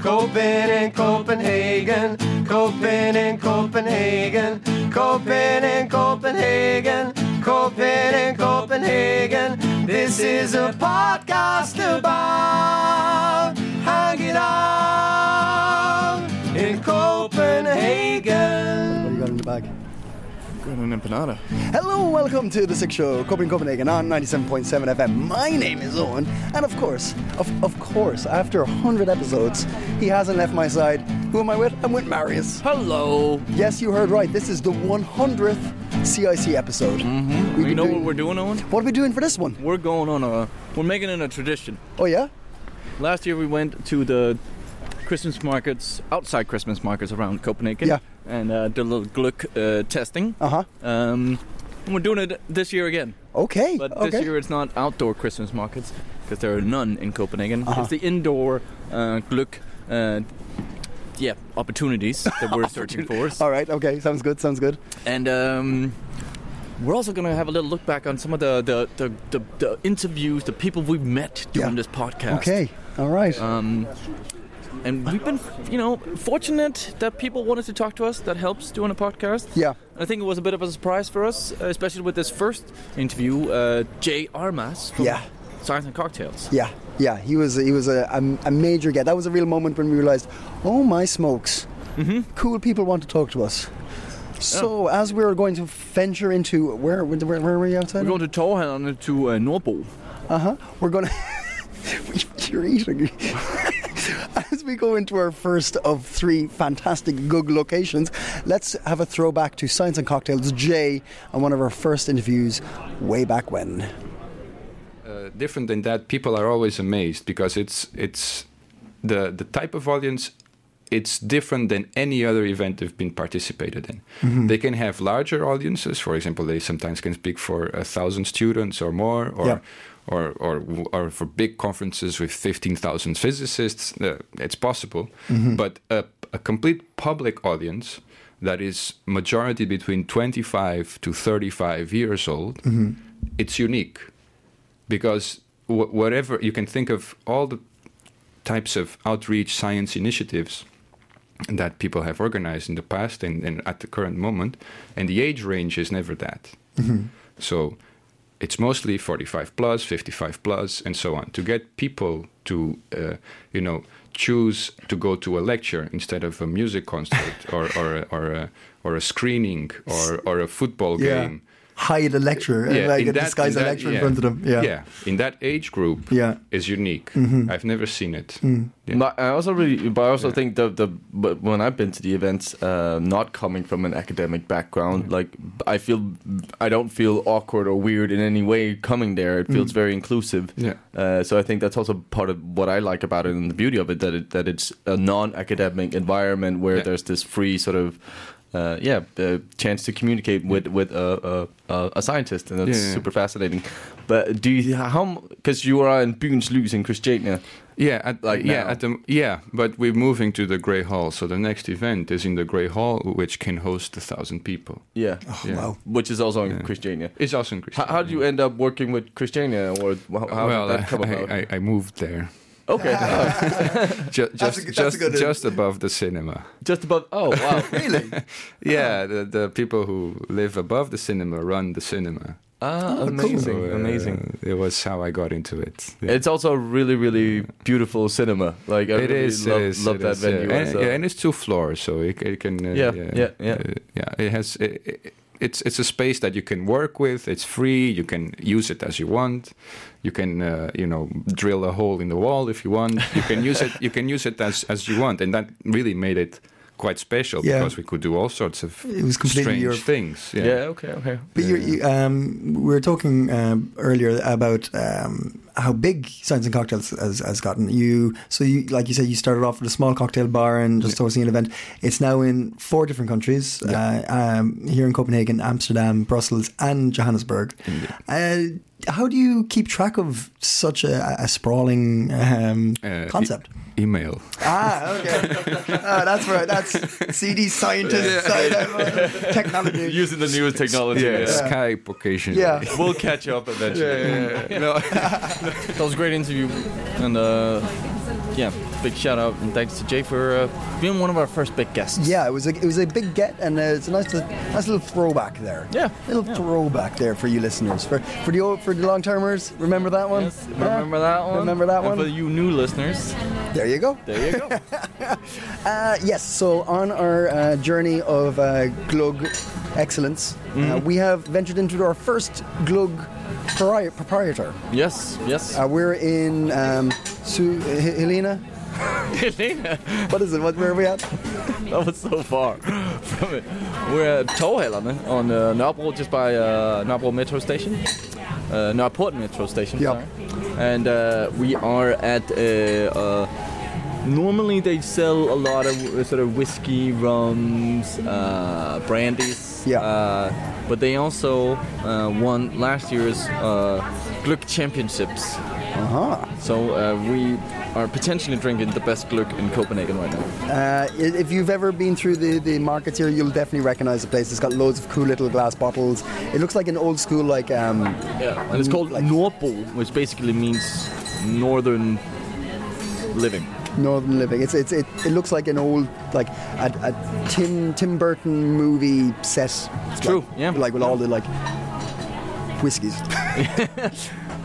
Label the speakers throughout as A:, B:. A: Copen in Copenhagen, Copen in Copenhagen, Copen in Copenhagen, Copen in Copenhagen. This is a podcast about hanging out in Copenhagen.
B: What do you got in the bag?
C: Got an empanada.
B: Hello, welcome to the Sick Show, Copenhagen, Copenhagen on 97.7 FM. My name is Owen, and of course, of, of course, after 100 episodes, he hasn't left my side. Who am I with? I'm with Marius.
C: Hello.
B: Yes, you heard right. This is the 100th CIC episode. Mm-hmm.
C: You know what we're doing, Owen?
B: What are we doing for this one?
C: We're going on a. We're making it a tradition.
B: Oh, yeah?
C: Last year we went to the Christmas markets, outside Christmas markets around Copenhagen.
B: Yeah.
C: And uh, did a little Gluck uh, testing.
B: Uh-huh.
C: Um, and we're doing it this year again.
B: Okay.
C: But
B: okay.
C: this year it's not outdoor Christmas markets because there are none in Copenhagen.
B: Uh-huh.
C: It's the indoor uh, Gluck. Uh, yeah, opportunities that we're searching for.
B: All right, okay, sounds good, sounds good.
C: And um, we're also going to have a little look back on some of the the, the, the, the interviews, the people we've met during
B: Yeah.
C: this podcast.
B: Okay, all right.
C: Um, and we've been, you know, fortunate that people wanted to talk to us. That helps doing a podcast.
B: Yeah.
C: I think it was a bit of a surprise for us, especially with this first interview, uh, Jay Armas from
B: Yeah.
C: Science and Cocktails.
B: Yeah, yeah, he was he was a, a, a major get. That was a real moment when we realized, oh my smokes,
D: Mm-hmm.
B: cool people want to talk to us.
D: Oh.
B: So as we were going to venture into where where, where were we outside?
C: We're going to Torhallen to uh, Norbo.
B: uh-huh. We're going to. You're eating. As we go into our first of three fantastic Gug locations, let's have a throwback to Science and Cocktails Jay and one of our first interviews way back when.
D: different than that, people are always amazed because it's it's the the type of audience. It's different than any other event they've been participated in. They can have larger audiences. For example, they sometimes can speak for a thousand students or more, or
B: Yeah.
D: or, or or for big conferences with fifteen thousand physicists. Uh, it's possible, but a, a complete public audience that is majority between twenty five to thirty five years old. It's unique because wh- whatever you can think of all the types of outreach science initiatives that people have organized in the past and, and at the current moment and the age range is never that so it's mostly 45 plus 55 plus and so on to get people to uh, you know choose to go to a lecture instead of a music concert or or a, or a, or a screening or or a football game
B: Hide a lecturer, and like
D: in that-
B: disguise
D: in
B: a
D: that-
B: lecturer in
D: yeah.
B: front of them.
D: in that age group,
B: Yeah. Mm-hmm. Mm.
D: is unique. I've never seen it. Yeah.
E: But I also really, but I also think the the but when I've been to the events, uh, not coming from an academic background,
D: Mm.
E: like I feel, I don't feel awkward or weird in any way coming there. It feels very inclusive.
D: Mm. Yeah.
E: Uh, so I think that's also part of what I like about it and the beauty of it that it, that it's a non-academic environment where
D: Yeah.
E: there's this free sort of. Uh, yeah, uh, chance to communicate with with a, a- a, a scientist, and that's
D: Yeah, yeah.
E: super fascinating. But do you how? Because you are in Byens Lys in Christiania.
D: Yeah, at,
E: Like
D: yeah,
E: now.
D: at the, yeah, but we're moving to the Grey Hall, so the next event is in the Grey Hall, which can host a thousand people.
E: Yeah.
D: Yeah.
B: Wow.
E: which is also in Christiania.
D: It's also in
E: How,
D: Christiania.
E: how do you end up working with Christiania, or how, how
D: well,
E: did that come
D: I,
E: about?
D: I, I moved there,
E: okay, Oh,
D: Ju- just
B: a good- that's a
D: just
B: good-
D: just above the cinema.
E: just above. Oh wow, really?
D: Yeah, the, the people who live above the cinema run the cinema.
E: Ah,
D: So,
E: amazing,
D: uh,
E: amazing.
D: It was how I got into it. Yeah.
E: It's also a really, really beautiful cinema. Like I
D: It
E: really
D: is.
E: love,
D: it is,
E: love
D: it
E: that
D: is,
E: venue. uh,
D: Yeah.
E: as
D: And,
E: a-
D: yeah, and it's two floors, so it, it can. Uh,
E: Yeah, yeah, yeah.
D: uh, yeah, It has. It, it, it's it's a space that you can work with. It's free. You can use it as you want. You can uh, you know drill a hole in the wall if you want. You can use it. You can use it as as you want, and that really made it quite special
B: Yeah.
D: because we could do all sorts of
F: It was completely
D: strange
F: your-
D: things.
E: yeah, okay, okay.
F: But you, you, um, we were talking um, earlier about um,
B: how big Science and Cocktails has, has gotten. You so you like you said you started off with a small cocktail bar and just hosting an event. It's now in four different countries. Uh, um, here in Copenhagen, Amsterdam, Brussels, and Johannesburg. Uh, how do you keep track of such a, a sprawling um,
D: Uh, e-
B: concept?
D: email.
B: Ah, okay. oh, that's right. That's CD scientist, sci- technology.
E: Using the newest technology.
D: Yeah,
E: yeah.
D: Skype occasionally.
B: yeah.
E: We'll catch up eventually.
C: That was a great interview, and uh, yeah, big shout out and thanks to Jay for uh, being one of our first big guests.
B: Yeah, it was a it was a big get, and uh, it's a nice li- nice little throwback there.
C: Yeah,
B: little throwback there for you listeners. For for the old, for the long termers, remember that one.
C: Yes,
B: Yeah?
C: remember that one?
B: Remember that
C: and
B: one.
C: For you new listeners,
B: There you go.
C: there you go.
B: Uh, yes, so on our uh, journey of uh, Glug excellence, uh,
C: Mm-hmm.
B: we have ventured into our first Glug propri- proprietor.
C: yes, yes.
B: Uh, we're in um, Su- H- Helena.
C: Elena,
B: What is it? What where are we at?
C: that was so far from it. We're at Tolhælerne on uh, Nørrebro, just by uh, Nørrebro Metro Station. Uh, Nørreport Metro Station,
B: Yeah.
C: sorry. And uh, we are at uh, uh, Normally, they sell a lot of uh, sort of whiskey, rums, uh, brandies.
B: Yeah.
C: Uh, but they also uh, won last year's uh, Gluck Championships.
B: Uh-huh.
C: So uh, we are potentially drinking the best Gluck in Copenhagen right now.
B: Uh, i- if you've ever been through the, the markets here, you'll definitely recognize the place. It's got loads of cool little glass bottles. It looks like an old school, like um,
C: Yeah, and it's called
B: Like-
C: Norpol, which basically means northern living.
B: northern living. It's, it's, it, it looks like an old, like a, a Tim, Tim Burton movie set. It's
C: true, yeah.
B: Like with all the like whiskies.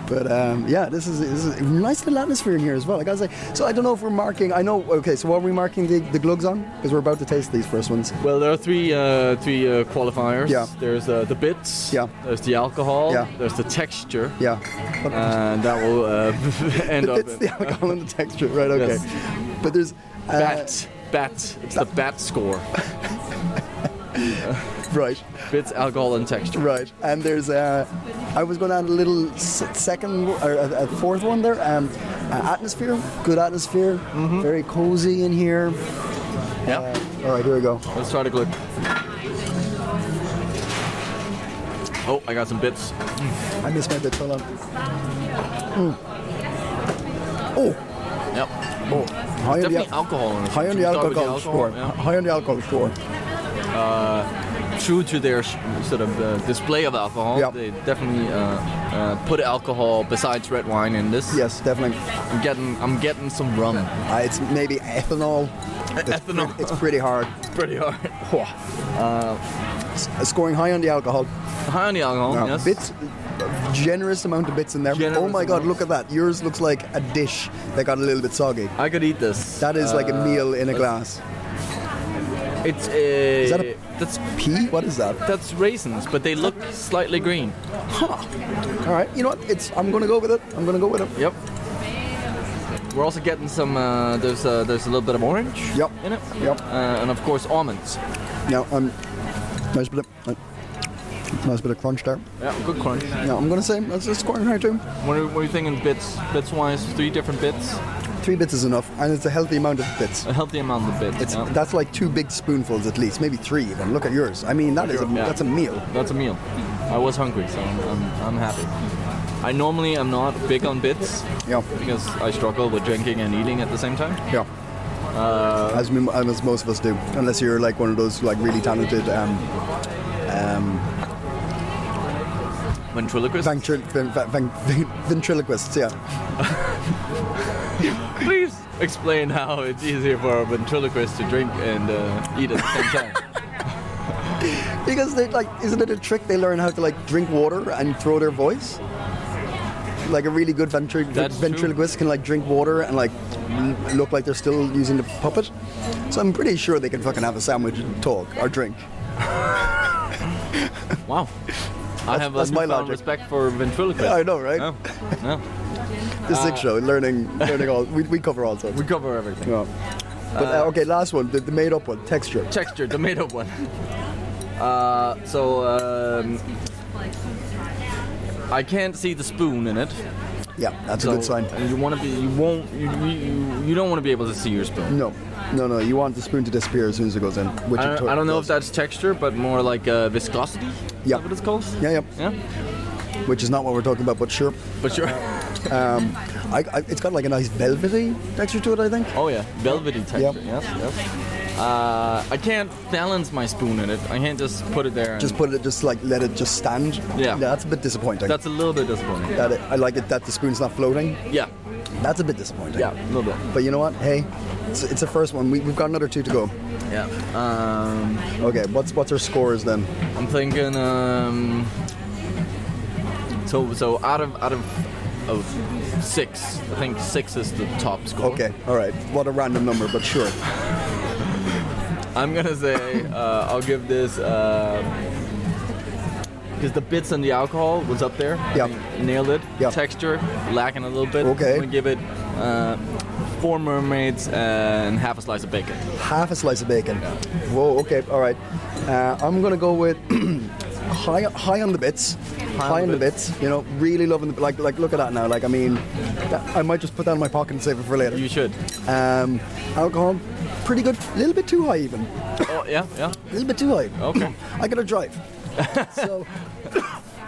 B: But um, yeah, this is, this is a nice little atmosphere in here as well. I gotta say. So I don't know if we're marking. I know. Okay, so what are we marking the, the glugs on? Because we're about to taste these first ones.
C: Well, there are three uh, three uh, qualifiers.
B: Yeah.
C: There's uh, the bits.
B: Yeah.
C: There's the alcohol.
B: Yeah.
C: There's the texture.
B: Yeah. What-
C: And that will uh, end up.
B: it's the alcohol and the texture, right? Okay.
C: Yes.
B: But there's uh,
C: Bat. Bat. It's the bat score.
B: right,
C: Bits, alcohol, and texture.
B: right, and there's uh, I was going to add a little s- second or uh, a, a fourth one there. Um, uh, atmosphere, good atmosphere,
C: Mm-hmm.
B: very cozy in here.
C: Yeah.
B: All right, here we go.
C: Let's try the glue. Oh, I got some bits.
B: I missed my bit. Hold on. Mm. Oh,
C: Yep.
B: high on the,
C: Definitely
B: al-
C: alcohol in it.
B: high on
C: Should we
B: the
C: start
B: alcohol,
C: with the
B: score.
C: yeah.
B: High on the alcohol score.
C: true to their sh- sort of uh, display of alcohol.
B: Yep.
C: They definitely uh, uh, put alcohol besides red wine in this.
B: Yes, definitely.
C: I'm getting I'm getting some rum.
B: Uh, it's maybe ethanol. It's pre-
C: E, Ethanol.
B: it's pretty hard.
C: Pretty hard.
B: Whew. S- Uh, scoring high on the alcohol.
C: High on the alcohol.
B: Now,
C: yes.
B: Bits, generous amount of bits in there. oh
C: Generous
B: my god,
C: amount.
B: look at that. Yours looks like a dish that got a little bit soggy.
C: I could eat this.
B: That is like a
C: Uh,
B: meal in a
C: let's-
B: glass.
C: Uh, It's a.
B: that a-
C: that's
B: Pea? What is that?
C: that's raisins, but they look slightly green.
B: All right, you know what? It's. I'm gonna go with it. I'm gonna go with it.
C: Yep. We're also getting some. Uh, there's uh, there's a little bit of orange.
B: Yep.
C: In it.
B: Yep.
C: Uh, and of course almonds.
B: Now, um, nice bit of uh, nice bit of crunch there.
C: Yeah. Good crunch.
B: Now, I'm gonna say that's just scoring high too.
C: What are, what are you thinking bits bits wise? Three different bits.
B: Three bits is enough, and it's a healthy amount of bits.
C: A healthy amount of bits.
B: It's
C: yeah.
B: that's like two big spoonfuls at least, maybe three even. Look at yours. I mean, that is a,
C: Yeah.
B: that's a meal.
C: That's a meal. I was hungry, so I'm, I'm, I'm happy. I normally am not big on bits
B: Yeah,
C: because I struggle with drinking and eating at the same time.
B: yeah. as, we, as most of us do, unless you're like one of those like really talented um,
C: Ventriloquist.
B: ventrilo- ven- ven- ven- ventriloquists. Yeah,
C: Please explain how it's easier for a ventriloquist to drink and uh, eat at the same time.
B: because they like isn't it a trick they learn how to like drink water and throw their voice? Like a really good ventri-
C: That's true.
B: ventriloquist can like drink water and like l- look like they're still using the puppet. So I'm pretty sure they can fucking have a sandwich and talk or drink.
C: wow. I have
B: that's
C: a
B: my
C: newfound
B: logic.
C: respect for ventriloquists.
B: I know, right?
C: No, no. Uh,
B: The sick show, learning, learning all. We, we cover all sorts.
C: We cover everything.
B: Yeah. But uh, okay, last one, the, the made up one, texture.
C: Texture, the made up one. Uh, so um, I can't see the spoon in it.
B: Yeah, that's a good sign.
C: You want to be. You won't. You, you, you don't want to be able to see your spoon.
B: No, no, no. You want the spoon to disappear as soon as it goes in. Which
C: I
B: it
C: don't,
B: tot-
C: I don't know if
B: does.
C: that's texture, but more like uh, viscosity. Is
B: Yeah.
C: that what it's called?
B: Yeah,
C: Yeah.
B: yeah. Which is not what we're talking about, but sure.
C: But you're.
B: I, I, it's got like a nice velvety texture to it, I think.
C: Oh yeah, velvety texture. Yes, yes. Uh, I can't balance my spoon in it. I can't just put it there. And
B: Just put it, just like let it just stand.
C: Yeah.
B: That's a bit disappointing.
C: That's a little bit disappointing.
B: that it, I like it that the spoon's not floating.
C: Yeah.
B: That's a bit disappointing.
C: Yeah, a little bit.
B: But you know what? Hey, it's, it's the first one. We, we've got another two to go.
C: Yeah. Um,
B: Okay, what's what's our scores then?
C: I'm thinking. Um, so so out of out of of six, I think six is the top score.
B: Okay, all right. What a random number, but sure.
C: I'm gonna say uh, I'll give this because the bits and the alcohol was up there. I
B: Yeah.
C: think nailed it.
B: Yeah.
C: Texture lacking a little bit.
B: Okay.
C: I'm gonna give it uh, four mermaids and half a slice of bacon.
B: Half a slice of bacon. Whoa. Okay. All right. Uh, I'm gonna go with high high on the bits. High, on the bits. You know, really loving the like like look at that now. Like I mean, that, I might just put that in my pocket and save it for later.
C: You should.
B: Um, alcohol, pretty good. A little bit too high even.
C: Oh yeah, yeah.
B: A little bit too high.
C: Okay.
B: I gotta drive. so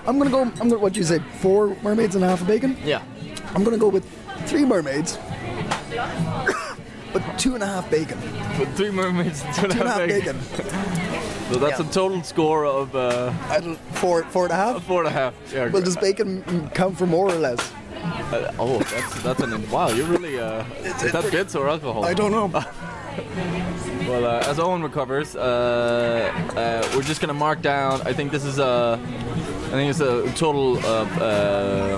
B: I'm gonna go. I'm gonna what you say? Four mermaids and half a bacon.
C: Yeah.
B: I'm gonna go with three mermaids, but two and a half bacon.
C: But three mermaids and two and a
B: Two and a
C: half
B: half
C: bacon.
B: bacon.
C: So that's a total score of uh,
B: I don't, four, four and a half.
C: four and a half. Yeah.
B: Well, does bacon m- count for more or less?
C: uh, oh, that's that's an wow. You're really uh, is that bits or alcohol?
B: I don't know.
C: Well, uh, as Owen recovers, uh, uh, we're just gonna mark down. I think this is a, I think it's a total of uh,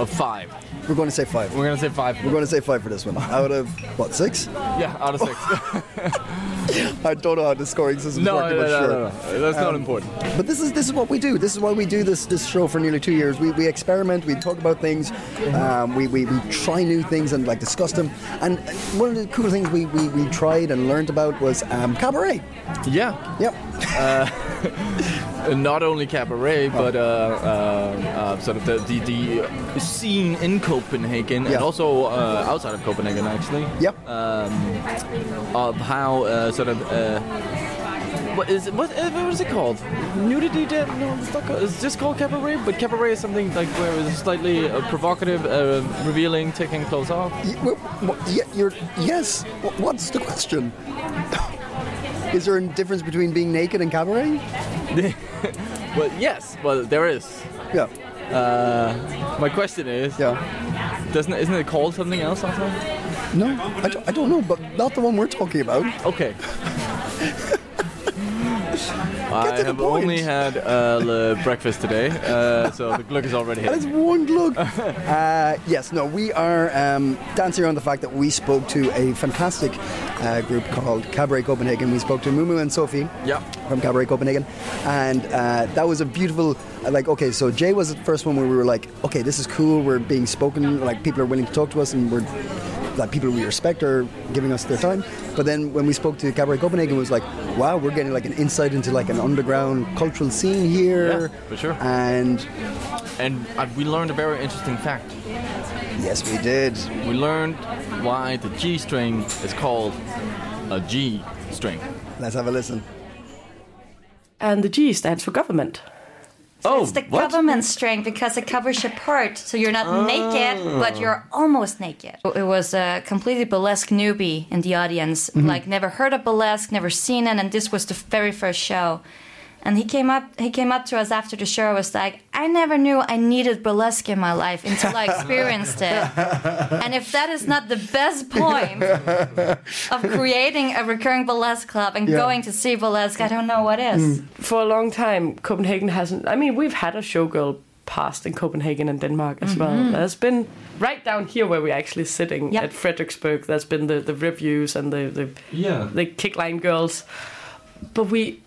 C: of five.
B: We're going to say five.
C: We're gonna say five.
B: We're going to say five for this one. Out of what six?
C: Yeah, out of six.
B: I don't know how the scoring system
C: no, no,
B: working, but
C: no,
B: sure. Um,
C: no, no, that's not important.
B: But this is this is what we do. This is why we do this this show for nearly two years. We, we experiment. We talk about things. Um, we, we, we try new things and like discuss them. And uh, one of the cool things we, we, we tried and learned about was um, cabaret.
C: Yeah,
B: Yep.
C: uh, not only
B: Oh.
C: cabaret, but uh, uh, uh, sort of the, the the scene in Copenhagen and
B: Yeah.
C: also uh, outside of Copenhagen, actually.
B: Yep.
C: Uh. Of how uh, sort of. Uh, what is it, what, uh, what is it called? Nudity? De- no, it's not called. It's just called cabaret, but cabaret is something like where it's slightly uh, provocative, uh, revealing, taking clothes off.
B: Y- w- w- y- you're, yes. W- What's the question? Is there a difference between being naked and cabaret?
C: Well, yes, well there is.
B: Yeah.
C: My question is,
B: Yeah.
C: doesn't it, isn't it called something else sometimes?
B: No, I don't, I don't know, but not the one we're talking about.
C: Okay. I
B: to the
C: have
B: point.
C: only had uh, le- breakfast today, uh, so the look is already
B: That is
C: here.
B: one look. uh, yes, no, we are um, dancing around the fact that we spoke to a fantastic uh, group called Cabaret Copenhagen. We spoke to Mumu and Sophie.
C: Yeah.
B: From Cabaret Copenhagen, and uh, that was a beautiful. uh, Like, okay, so Jay was the first one where we were like, okay, this is cool. We're being spoken. Like, people are willing to talk to us, and we're like people we respect are giving us their time. But then when we spoke to Cabaret Copenhagen, it was like, wow, we're getting like an insight into like an underground cultural scene here.
C: Yeah, for sure.
B: And
C: And uh, we learned a very interesting fact.
B: yes, we did.
C: We learned why the G string is called a G string.
B: Let's have a listen.
F: and the G stands for government.
E: Oh,
G: It's the
E: what? Oh.
G: government string because it covers your part, so you're not naked, but you're almost naked. It was a completely burlesque newbie in the audience,
E: Mm-hmm.
G: like never heard of burlesque, never seen it, and this was the very first show. And he came up, he came up to us after the show. Was like, I never knew I needed burlesque in my life until I experienced it. And if that is not the best point of creating a recurring burlesque club and going to see burlesque, I don't know what is.
F: For a long time, Copenhagen hasn't. I mean, we've had a showgirl past in Copenhagen and Denmark as well. There's been right down here where we're actually sitting
G: Yep.
F: at Frederiksberg. There's been the, the reviews and the the
C: Yeah.
F: the kickline girls, but we.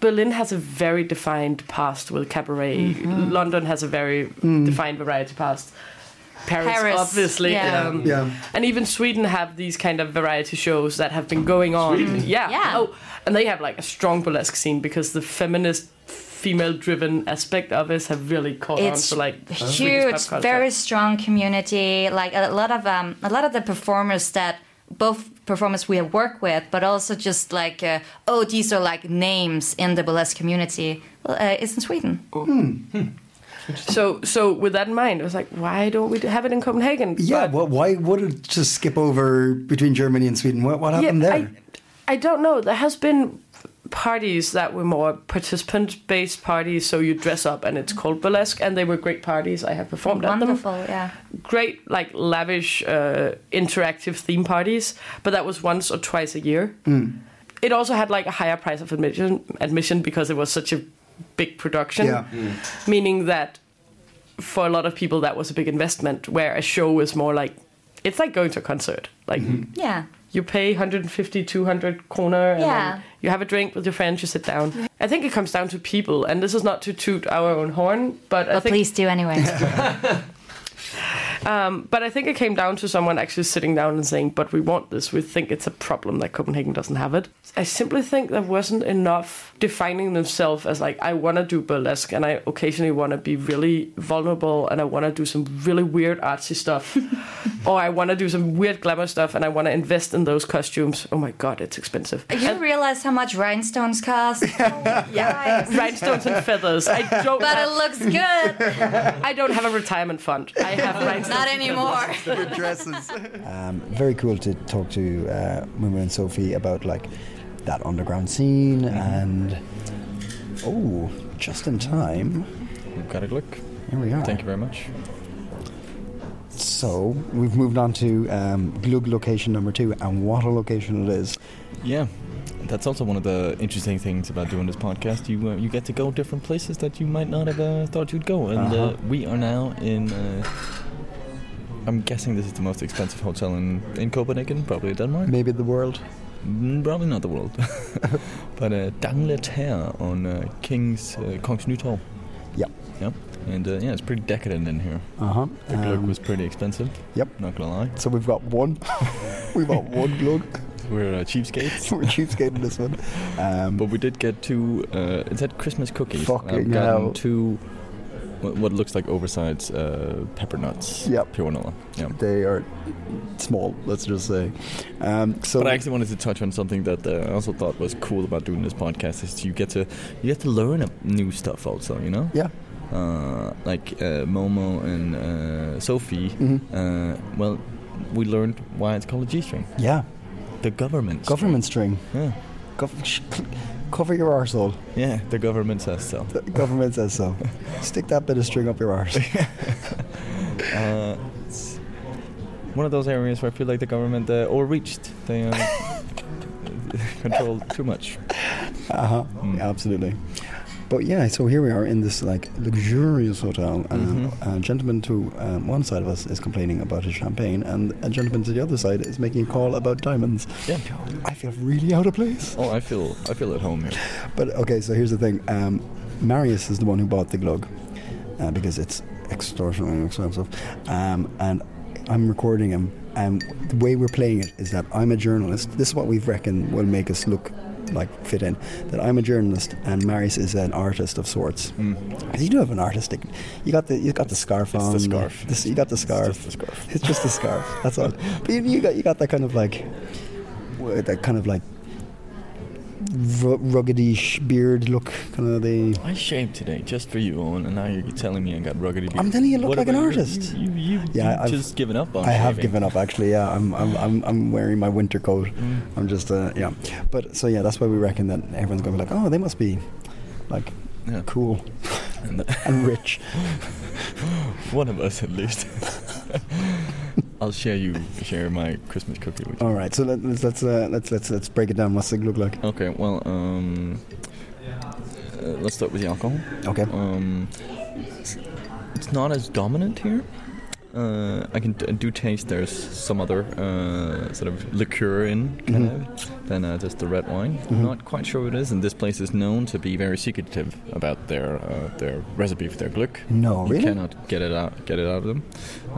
F: Berlin has a very defined past with cabaret. London has a very defined variety past. Paris,
G: Paris,
F: obviously.
G: yeah.
F: Um,
B: Yeah.
F: And even Sweden have these kind of variety shows that have been going on. Yeah.
G: Yeah.
F: Oh, and they have like a strong burlesque scene because the feminist female-driven aspect of it have really caught
G: it's
F: on to like Swedish
G: huge,
F: pop culture.
G: very strong community. Like a lot of um, a lot of the performers that both performers we have worked with, but also just like uh, oh, these are like names in the burlesque community. Well, uh, it's in Sweden.
F: So, so with that in mind, I was like, why don't we have it in Copenhagen?
A: Yeah,
F: But-
A: well, why would it just skip over between Germany and Sweden? What, what happened there?
F: I, I don't know. There has been parties that were more participant-based parties, so you dress up and it's called burlesque, and they were great parties. I have performed at them.
G: Wonderful, yeah.
F: great like lavish uh, interactive theme parties but that was once or twice a year it also had like a higher price of admission admission because it was such a big production
A: Yeah.
B: Mm.
F: meaning that for a lot of people that was a big investment where a show is more like it's like going to a concert like
G: Yeah.
F: you pay 150 200 kroner and
G: Yeah.
F: then you have a drink with your friends you sit down i think it comes down to people and this is not to toot our own horn but, i
G: But
F: think
G: please do anyway.
F: Um, But I think it came down to someone actually sitting down and saying, "But we want this. We think it's a problem that Copenhagen doesn't have it." I simply think there wasn't enough defining themselves as like, "I want to do burlesque and I occasionally want to be really vulnerable and I want to do some really weird artsy stuff, or I want to do some weird glamour stuff and I want to invest in those costumes." Oh my god, it's expensive.
G: you realize how much rhinestones cost? yeah.
F: Rhinestones and feathers. I don't.
G: But it
F: Have,
G: looks good.
F: I don't have a retirement fund. I have rhinestones.
G: Not anymore.
A: Dresses.
B: very cool to talk to uh, Mumu and Sophie about like that underground scene
A: Mm-hmm.
B: and oh, just in time.
C: Got a look.
B: Here we are.
C: Thank you very much.
B: So we've moved on to um, Glug location number two, and what a location it is!
C: Yeah, that's also one of the interesting things about doing this podcast. You uh, you get to go different places that you might not have uh, thought you'd go, and uh
B: Uh-huh.
C: we are now in. Uh, I'm guessing this is the most expensive hotel in, in Copenhagen, probably Denmark.
B: Maybe the world.
C: Mm, Probably not the world, but uh, Dangleterre on uh, King's uh, Kongens Nytorv.
B: Yep.
C: Yep. And uh, yeah, it's pretty decadent in here.
B: Uh huh.
C: The Glug was pretty expensive.
B: Yep.
C: Not gonna lie,
B: so we've got one. we've got one Glug.
C: we're uh, cheapskates.
B: We're cheapskating this one. Um,
C: But we did get two. Uh, it said Christmas cookies.
B: Fucking
C: I've gotten
B: hell.
C: two. What, what looks like oversized uh, pepper nuts.
B: Yep.
C: Pure vanilla. Yeah.
B: they are small. Let's just say. Um, so
C: But I actually wanted to touch on something that uh, I also thought was cool about doing this podcast is you get to you get to learn uh, new stuff also. You know.
B: yeah.
C: Uh, like uh, Momo and uh, Sophie.
B: Mhm.
C: Uh, well, we learned why it's called a G-string.
B: Yeah,
C: The government. string.
B: government string.
C: Yeah.
B: Gov- sh- cover your arsehole.
C: Yeah. The government says so.
B: The government says so. Stick that bit of string up your arse.
C: uh, it's one of those areas where I feel like the government uh, overreached. They uh, control too much.
B: Uh huh. Absolutely. But yeah, so here we are in this like luxurious hotel, and
C: Mm-hmm.
B: a gentleman to um, one side of us is complaining about his champagne, and a gentleman to the other side is making a call about diamonds.
C: Yeah.
B: I feel really out of place.
C: Oh, I feel I feel at home here.
B: But okay, so here's the thing. Um, Marius is the one who bought the glug uh, because it's extortionately expensive. Um, and I'm recording him. And the way we're playing it is that I'm a journalist. This is what we've reckoned will make us look like fit in. That I'm a journalist and Marius is an artist of sorts. Because you do have an artistic. You got the you got the scarf
C: Hmm. It's
B: on.
C: the scarf.
B: this- you got the scarf.
C: just the scarf.
B: It's just the scarf. That's all. But you, you got you got that kind of like w- that kind of like ru- ruggedish beard look, kind of the.
C: I shaved today just for you, Owen, and now you're telling me I got ruggedy beard.
B: I'm telling you, you look
C: What
B: like an
C: about you?
B: artist.
C: You, you, you,
B: Yeah,
C: you've
B: I've-
C: just given up on.
B: I have
C: Oh, shaving.
B: given up actually. Yeah, I'm I'm, I'm, I'm wearing my winter coat.
C: Mm.
B: I'm just uh, yeah. But so yeah, that's why we reckon that everyone's gonna be like, oh, they must be like
C: Yeah.
B: cool
C: And
B: and rich.
C: One of us at least. I'll share you share my Christmas cookie with you.
B: All right, so let, let's let's uh, let's let's let's break it down. What's it look like?
C: Okay, well, um, uh, let's start with the alcohol.
B: Okay.
C: Um, it's not as dominant here. Uh, I can I do taste there's some other uh, sort of liqueur in kind
B: Mm-hmm.
C: of than uh, just the red wine. I'm not quite sure what it is, and this place is known to be very secretive about their uh, their recipe for their gluck.
B: No,
C: you
B: really?
C: cannot get it out get it out of them.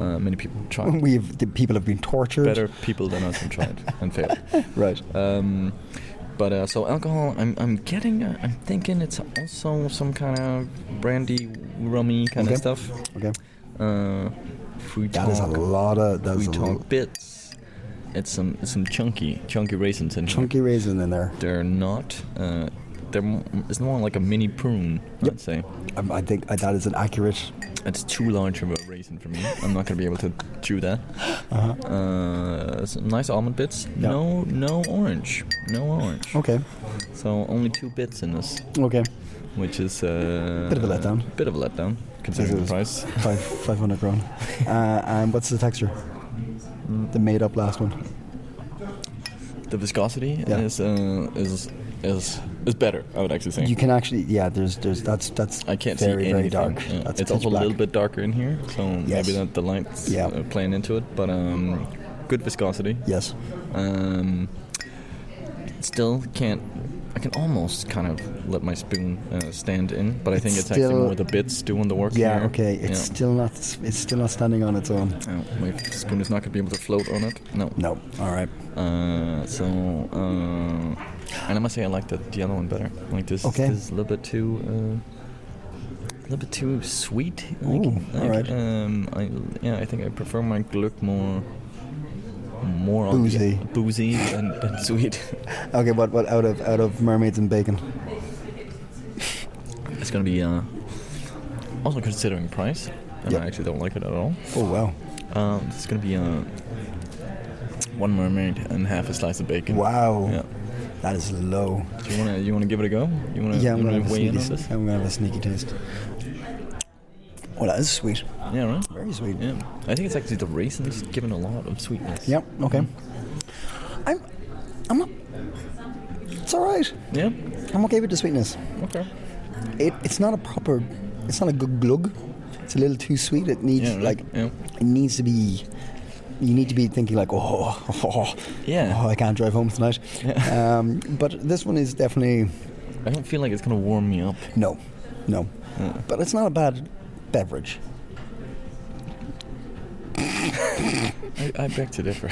C: Uh, many people tried.
B: We've the people have been tortured.
C: Better people than us have tried and failed.
B: Right.
C: Um, But uh, so alcohol, I'm I'm getting. Uh, I'm thinking it's also some kind of brandy, rummy kind
B: Okay.
C: of stuff.
B: Okay.
C: Uh, fruit
B: That is a lot of that's
C: we
B: a
C: talk
B: l-
C: bits. It's some it's some chunky chunky raisins in here.
B: chunky raisin in there.
C: They're not. Uh, they're m- it's more like a mini prune. I'd say
B: Um, I think uh, that is an accurate.
C: it's too large of a raisin for me. I'm not gonna be able to chew that.
B: Uh-huh.
C: Uh, some nice almond bits.
B: Yeah.
C: No no orange. No orange.
B: Okay.
C: So only two bits in this,
B: Okay.
C: which is uh,
B: Bit of a letdown.
C: Bit of a letdown considering the price.
B: Five five hundred grand. Uh, and what's the texture? The made up last one.
C: The viscosity
B: Yeah.
C: is uh, is is is better. I would actually say.
B: You can actually yeah. There's there's that's that's
C: I can't
B: very
C: see
B: very
C: anything.
B: dark.
C: Yeah.
B: That's
C: it's also
B: pitch
C: a little
B: black.
C: bit darker in here, so
B: Yes.
C: maybe that the lights
B: Yeah.
C: uh, playing into it. But um, good viscosity.
B: Yes.
C: Um, still can't. I can almost kind of let my spoon uh, stand in, but I think
B: It's
C: it's actually
B: still-
C: more the bits doing the work.
B: Yeah.
C: here.
B: Okay. It's
C: Yeah.
B: still not it's still not standing on its own.
C: Oh, my spoon is not going to be able to float on it. No.
B: No. All right.
C: Uh, so, uh, and I must say I like the, the yellow one better. Like this,
B: Okay.
C: this is a little bit too, uh, a little bit too sweet. Like,
B: Ooh,
C: like,
B: alright.
C: Um, I yeah, I think I prefer my Gluck more, more on
B: Boozy.
C: the, boozy and, and sweet.
B: Okay. What what out of out of mermaids and bacon?
C: it's gonna be uh, also considering price. And
B: Yep.
C: I actually don't like it at all.
B: Oh wow.
C: Um, it's gonna be uh, one mermaid and half a slice of bacon.
B: Wow.
C: Yeah.
B: That is low.
C: Do you wanna you wanna give it a go? You wanna
B: Yeah, I'm
C: you
B: gonna
C: wanna
B: have a
C: weigh in
B: sneaky.
C: on this?
B: I'm gonna have a sneaky taste. Well, that is sweet.
C: Yeah, right.
B: Very sweet.
C: Yeah, I think it's actually the raisins giving a lot of sweetness.
B: Yep. Okay.
C: Mm-hmm.
B: I'm. I'm not. It's all right.
C: Yeah.
B: I'm okay with the sweetness.
C: Okay.
B: It, it's not a proper. It's not a good glug. It's a little too sweet. It needs
C: Yeah. right.
B: like.
C: yeah.
B: It needs to be. You need to be thinking like, oh, oh, oh,
C: Yeah.
B: oh, I can't drive home tonight. Um, but this one is definitely
C: I don't feel like it's gonna warm me up.
B: no, no. But it's not a bad beverage.
C: I, I beg to differ.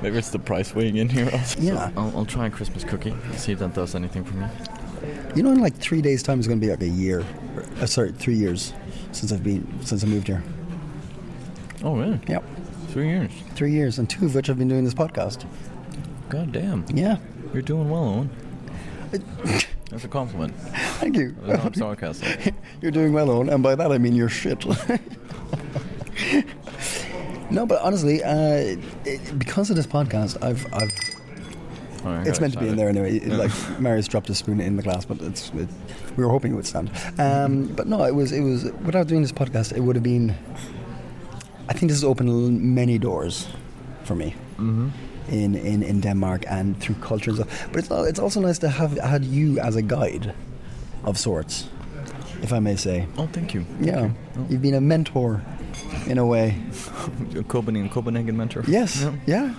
C: Maybe it's the price weighing in here. Also.
B: Yeah.
C: I'll, I'll try a Christmas cookie. See if that does anything for me.
B: You know, in like three days' time, it's going to be like a year. Or, uh, sorry, three years since I've been since I moved here.
C: Oh really?
B: Yep,
C: Three years.
B: three years, and two of which I've been doing this podcast.
C: God damn.
B: Yeah,
C: You're doing well, Owen. That's a compliment.
B: thank you.
C: That's not sarcasm.
B: You're doing well, Owen, and by that I mean you're shit. no, but honestly, uh, it, because of this podcast, I've, I've
C: All right, I
B: it's
C: got
B: meant to be in
C: excited.
B: there anyway. It- Like Marius dropped a spoon in the glass, but it's it, we were hoping it would stand. Um, but no, it was it was without doing this podcast, it would have been. I think this has opened l- many doors for me in, in in Denmark and through culture and stuff. But it's al- it's also nice to have had you as a guide of sorts, if I may say.
C: Oh, thank you.
B: Yeah,
C: Oh.
B: you've been a mentor in a way.
C: Your Copenhagen, Copenhagen mentor.
B: Yes.
C: Yeah.
B: Yeah.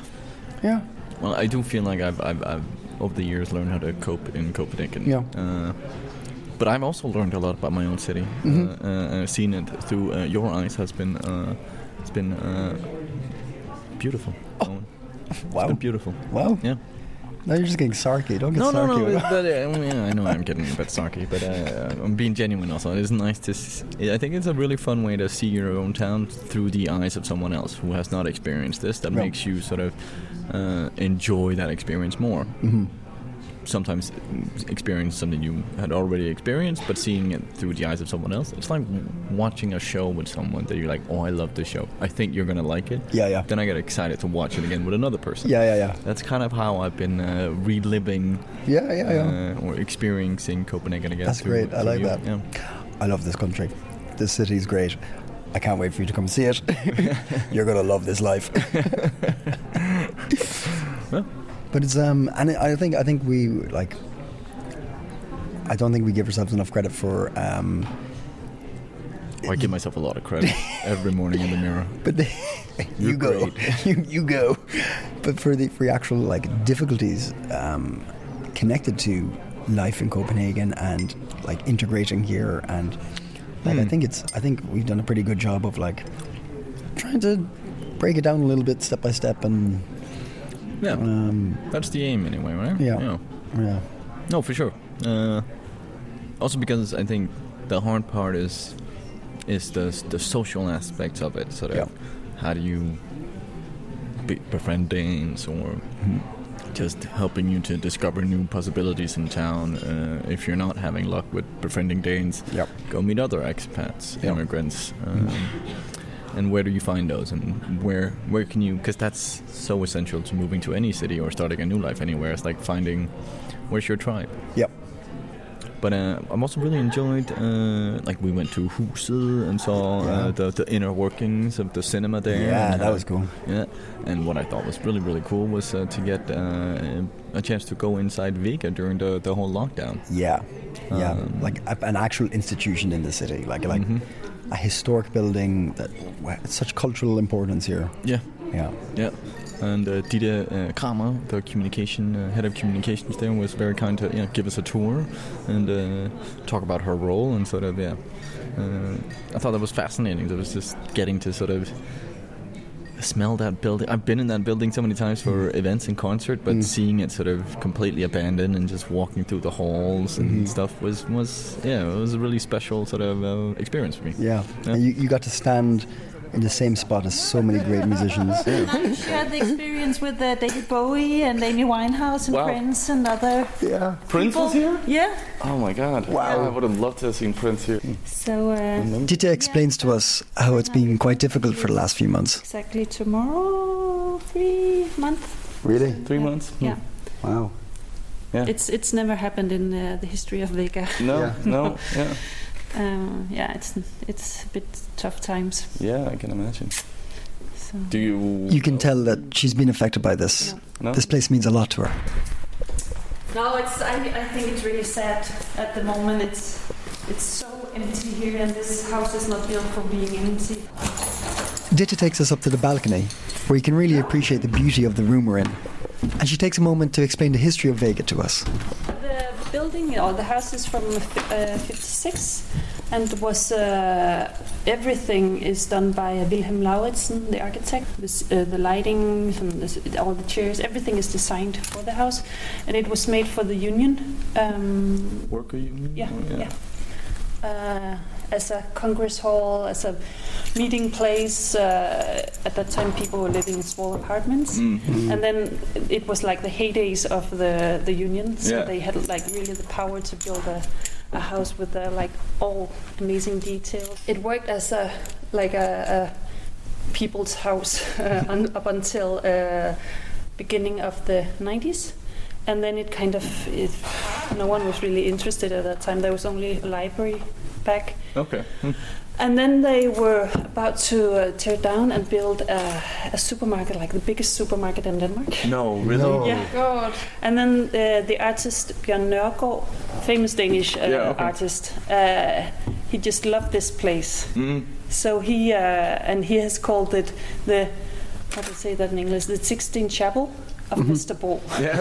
B: Yeah.
C: Well, I do feel like I've, I've, I've over the years learned how to cope in Copenhagen.
B: Yeah.
C: Uh, but I've also learned a lot about my own city.
B: Mm-hmm.
C: Uh, uh, and seeing it through uh, your eyes has been uh, it's been uh, beautiful. Owen. It's
B: Oh. Wow.
C: been beautiful.
B: Wow.
C: Yeah.
B: Now you're just getting sarky. Don't get
C: No, no,
B: sarky.
C: no.
B: about-
C: But, but, uh, yeah, I know I'm getting a bit sarky, but uh, I'm being genuine also. It's nice to. S- I think it's a really fun way to see your own town through the eyes of someone else who has not experienced this. That
B: Yeah.
C: makes you sort of uh, enjoy that experience more. Mm-hmm. Sometimes experience something you had already experienced, but seeing it through the eyes of someone else, it's like watching a show with someone that you're like, "Oh, I love this show. I think you're gonna like it."
B: Yeah, yeah.
C: Then I get excited to watch it again with another person.
B: Yeah, yeah, yeah.
C: That's kind of how I've been uh, reliving
B: Yeah, yeah, yeah.
C: uh, or experiencing Copenhagen again.
B: That's
C: through-
B: great. I
C: through
B: like
C: you.
B: that.
C: Yeah.
B: I love this country. This city's great. I can't wait for you to come see it. You're gonna love this life. but it's um, and I I think I think we like. I don't think we give ourselves enough credit for um,
C: I give myself a lot of credit every morning in the mirror.
B: but the, you
C: You're
B: go, you you go. But for the for the actual like difficulties um, connected to life in Copenhagen and like integrating here and like
C: Hmm.
B: I think it's I think we've done a pretty good job of like trying to break it down a little bit step by step and
C: Yeah,
B: um,
C: that's the aim anyway, right?
B: Yeah. Yeah.
C: No, for sure. Uh, also because I think the hard part is is the the social aspects of it. So that
B: Yeah.
C: how do you be, befriend Danes or just helping you to discover new possibilities in town? Uh, if you're not having luck with befriending Danes,
B: Yep.
C: go meet other expats,
B: Yeah. Mm-hmm.
C: immigrants. Um, and where do you find those? And where where can you? Because that's so essential to moving to any city or starting a new life anywhere. It's like finding where's your tribe.
B: Yep.
C: But uh, I'm also really enjoyed. Uh, like we went to Husel and saw
B: Yeah.
C: uh, the, the inner workings of the cinema there.
B: Yeah,
C: and
B: that
C: how-
B: was cool.
C: Yeah, and what I thought was really really cool was uh, to get uh, a chance to go inside Vega during the, the whole lockdown.
B: Yeah, yeah,
C: Um,
B: like a, an actual institution in the city, like like
C: Mm-hmm.
B: a historic building that wow, it's such cultural importance here.
C: Yeah,
B: Yeah,
C: yeah. And uh, Dieter uh, Kramer, the communication uh, head of communications there, was very kind to you know, give us a tour and uh, talk about her role and sort of yeah. Uh, I thought that was fascinating. It was just getting to sort of smell that building. I've been in that building so many times for events and concert, but seeing it sort of completely abandoned and just walking through the halls and stuff was was yeah, it was a really special sort of uh, experience for me.
B: yeah.
C: Yeah.
B: And you, you got to stand in the same spot as so many great musicians.
H: I shared the experience with uh, David Bowie and Amy Winehouse and
A: Wow.
H: Prince and other.
B: Yeah,
A: Prince was here?
H: Yeah.
A: Oh my god. Wow. I would have loved to have seen Prince here.
H: So uh,
I: Dita explains to us how it's been quite difficult for the last few months.
H: exactly tomorrow, three months.
B: really?
A: Three months?
H: Yeah.
C: Hmm.
B: Wow.
H: It's it's never happened in uh, the history of Vega.
A: No,
B: Yeah.
A: no, yeah.
H: Um, yeah, it's it's a bit tough times.
A: Yeah, I can imagine.
H: So.
A: Do you.
I: You can tell that she's been affected by this.
A: No?
I: This place means a lot to her.
H: No, it's. I, I think it's really sad at the moment. It's it's so empty here, and this house is not built for being empty.
I: Dita takes us up to the balcony, where you can really appreciate the beauty of the room we're in. And she takes a moment to explain the history of Vega to us.
H: The building or the house is from uh, 56 and was uh, everything is done by uh, Wilhelm Lauritsen, the architect. This, uh, the lighting, some, this, all the chairs, everything is designed for the house, and it was made for the union. Um,
A: Worker union?
H: yeah,
A: Oh,
H: yeah. Uh, as a congress hall, as a meeting place. Uh, at that time, people were living in small apartments, and then it was like the heydays of the the union. So
A: Yeah.
H: they had like really the power to build a, a house with uh like all amazing details. It worked as a like a, a people's house uh, un, up until uh, beginning of the 90s and then it kind of it, no one was really interested at that time there was only a library back
A: Okay. Hmm.
H: and then they were about to uh, tear down and build a, a supermarket like the biggest supermarket in denmark
A: No, really?
H: yeah god and then uh, the artist björn Nørgaard, famous danish uh,
A: Yeah, okay.
H: artist uh, he just loved this place
A: Mm.
H: so he uh, and he has called it the how to say that in english the 16th chapel of mr ball
A: Mm-hmm. Yeah,